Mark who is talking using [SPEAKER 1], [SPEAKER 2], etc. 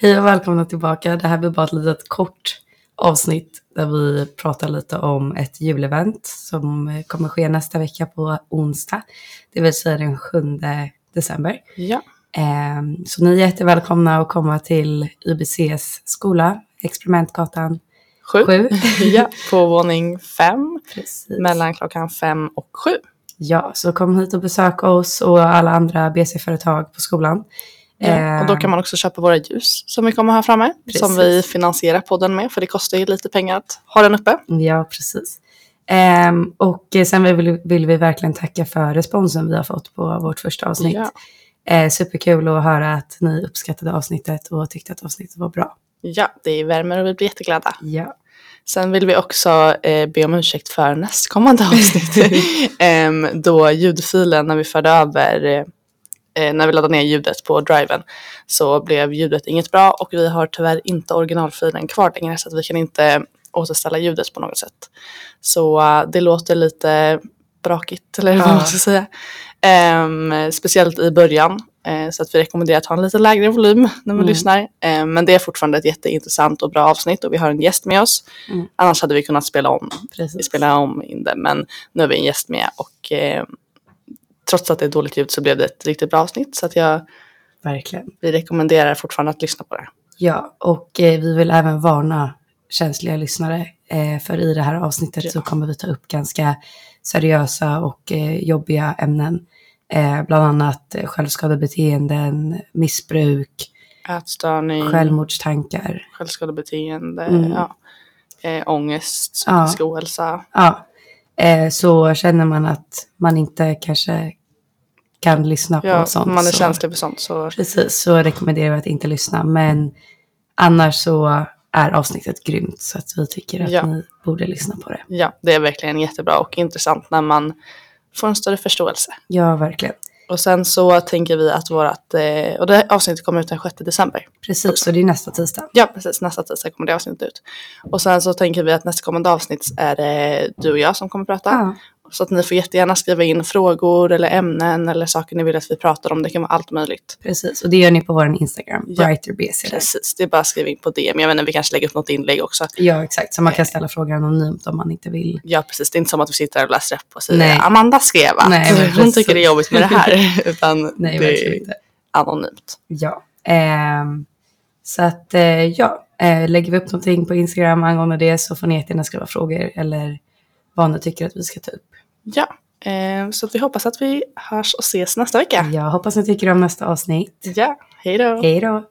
[SPEAKER 1] Hej och välkomna tillbaka. Det här blir bara ett litet kort avsnitt där vi pratar lite om ett julevent som kommer ske nästa vecka på onsdag, det vill säga den 7 december.
[SPEAKER 2] Ja.
[SPEAKER 1] Ehm, Så ni är jättevälkomna att komma till IBCs skola, Experimentgatan
[SPEAKER 2] Sju.
[SPEAKER 1] 7.
[SPEAKER 2] Ja, på våning fem
[SPEAKER 1] Precis.
[SPEAKER 2] Mm. mellan klockan fem och sju.
[SPEAKER 1] Ja, så kom hit och besök oss och alla andra BC-företag på skolan.
[SPEAKER 2] Ja. Och då kan man också köpa våra ljus som vi kommer ha framme. Som vi
[SPEAKER 1] Ehm. Precis.
[SPEAKER 2] finansierar podden med för det kostar ju lite pengar att ha den uppe.
[SPEAKER 1] Ja, precis. Ehm, och eh, sen vill, vill vi verkligen tacka för responsen vi har fått på vårt första avsnitt.
[SPEAKER 2] Ja.
[SPEAKER 1] Eh, superkul att höra att ni uppskattade avsnittet och tyckte att avsnittet var bra.
[SPEAKER 2] Ja, det värmer och vi blir jätteglada.
[SPEAKER 1] Ja,
[SPEAKER 2] Sen vill vi också eh, be om ursäkt för nästkommande avsnitt. Ehm, då ljudfilen när vi förde över, eh, när vi laddade ner ljudet på driven så blev ljudet inget bra och vi har tyvärr inte originalfilen kvar längre så att vi kan inte återställa ljudet på något sätt. Så eh, det låter lite brakigt eller vad
[SPEAKER 1] Ja.
[SPEAKER 2] man ska säga. Ehm, speciellt i början. Eh, Så att vi rekommenderar att ha en lite lägre volym när man
[SPEAKER 1] Mm.
[SPEAKER 2] lyssnar. Eh, Men det är fortfarande ett jätteintressant och bra avsnitt och vi har en gäst med oss.
[SPEAKER 1] Mm.
[SPEAKER 2] Annars hade vi kunnat spela om, vi
[SPEAKER 1] precis.
[SPEAKER 2] spelar om in det. Men nu har vi en gäst med och eh, trots att det är dåligt ljud så blev det ett riktigt bra avsnitt. Så att jag,
[SPEAKER 1] Verkligen.
[SPEAKER 2] vi rekommenderar fortfarande att lyssna på det.
[SPEAKER 1] Ja, och eh, vi vill även varna känsliga lyssnare. Eh, för i det här avsnittet
[SPEAKER 2] Ja.
[SPEAKER 1] så kommer vi ta upp ganska seriösa och eh, jobbiga ämnen. Eh, bland annat eh, självskadebeteenden, missbruk,
[SPEAKER 2] Ätstörning,
[SPEAKER 1] självmordstankar.
[SPEAKER 2] självskadebeteende,
[SPEAKER 1] Mm.
[SPEAKER 2] ja. eh, ångest, psykisk ohälsa.
[SPEAKER 1] Ja, eh, så känner man att man inte kanske kan lyssna på
[SPEAKER 2] Ja,
[SPEAKER 1] sånt.
[SPEAKER 2] om man är
[SPEAKER 1] så,
[SPEAKER 2] känslig för sånt så
[SPEAKER 1] Precis, så rekommenderar vi att inte lyssna. Men annars så är avsnittet grymt så att vi tycker att
[SPEAKER 2] Ja.
[SPEAKER 1] ni borde lyssna på det.
[SPEAKER 2] ja, det är verkligen jättebra och intressant när man får en större förståelse.
[SPEAKER 1] Ja, verkligen.
[SPEAKER 2] Och sen så tänker vi att vårat, eh, och det här avsnittet kommer ut den 6 december.
[SPEAKER 1] Precis, så det är nästa tisdag.
[SPEAKER 2] Ja, precis. Nästa tisdag kommer det avsnittet ut. Och sen så tänker vi att nästkommande avsnitt är det du och jag som kommer prata.
[SPEAKER 1] Ja,
[SPEAKER 2] Så att ni får jättegärna skriva in frågor eller ämnen eller saker ni vill att vi pratar om. Det kan vara allt möjligt.
[SPEAKER 1] precis. Och det gör ni på vår Instagram,
[SPEAKER 2] Ja.
[SPEAKER 1] BrighterBC. där.
[SPEAKER 2] Precis, det är bara att skriva in på DM. Jag vet inte, vi kanske lägger upp något inlägg också.
[SPEAKER 1] Ja, exakt. Så man kan ställa frågan anonymt om man inte vill.
[SPEAKER 2] Ja, precis. Det är inte som att vi sitter här och läser upp och säger
[SPEAKER 1] Nej.
[SPEAKER 2] Amanda skrev att
[SPEAKER 1] Nej, men
[SPEAKER 2] hon
[SPEAKER 1] precis.
[SPEAKER 2] tycker det är jobbigt med det här. Utan
[SPEAKER 1] Nej,
[SPEAKER 2] det
[SPEAKER 1] verkligen
[SPEAKER 2] är
[SPEAKER 1] inte.
[SPEAKER 2] anonymt.
[SPEAKER 1] Ja. Ehm, så att eh, ja, eh, lägger vi upp någonting på Instagram angående det så får ni jättegärna skriva frågor eller vad ni tycker att vi ska ta upp.
[SPEAKER 2] Ja, eh, så att vi hoppas
[SPEAKER 1] Mm.
[SPEAKER 2] att vi hörs och ses nästa vecka.
[SPEAKER 1] Jag hoppas ni tycker om nästa avsnitt.
[SPEAKER 2] Ja, hej då.
[SPEAKER 1] Hej då!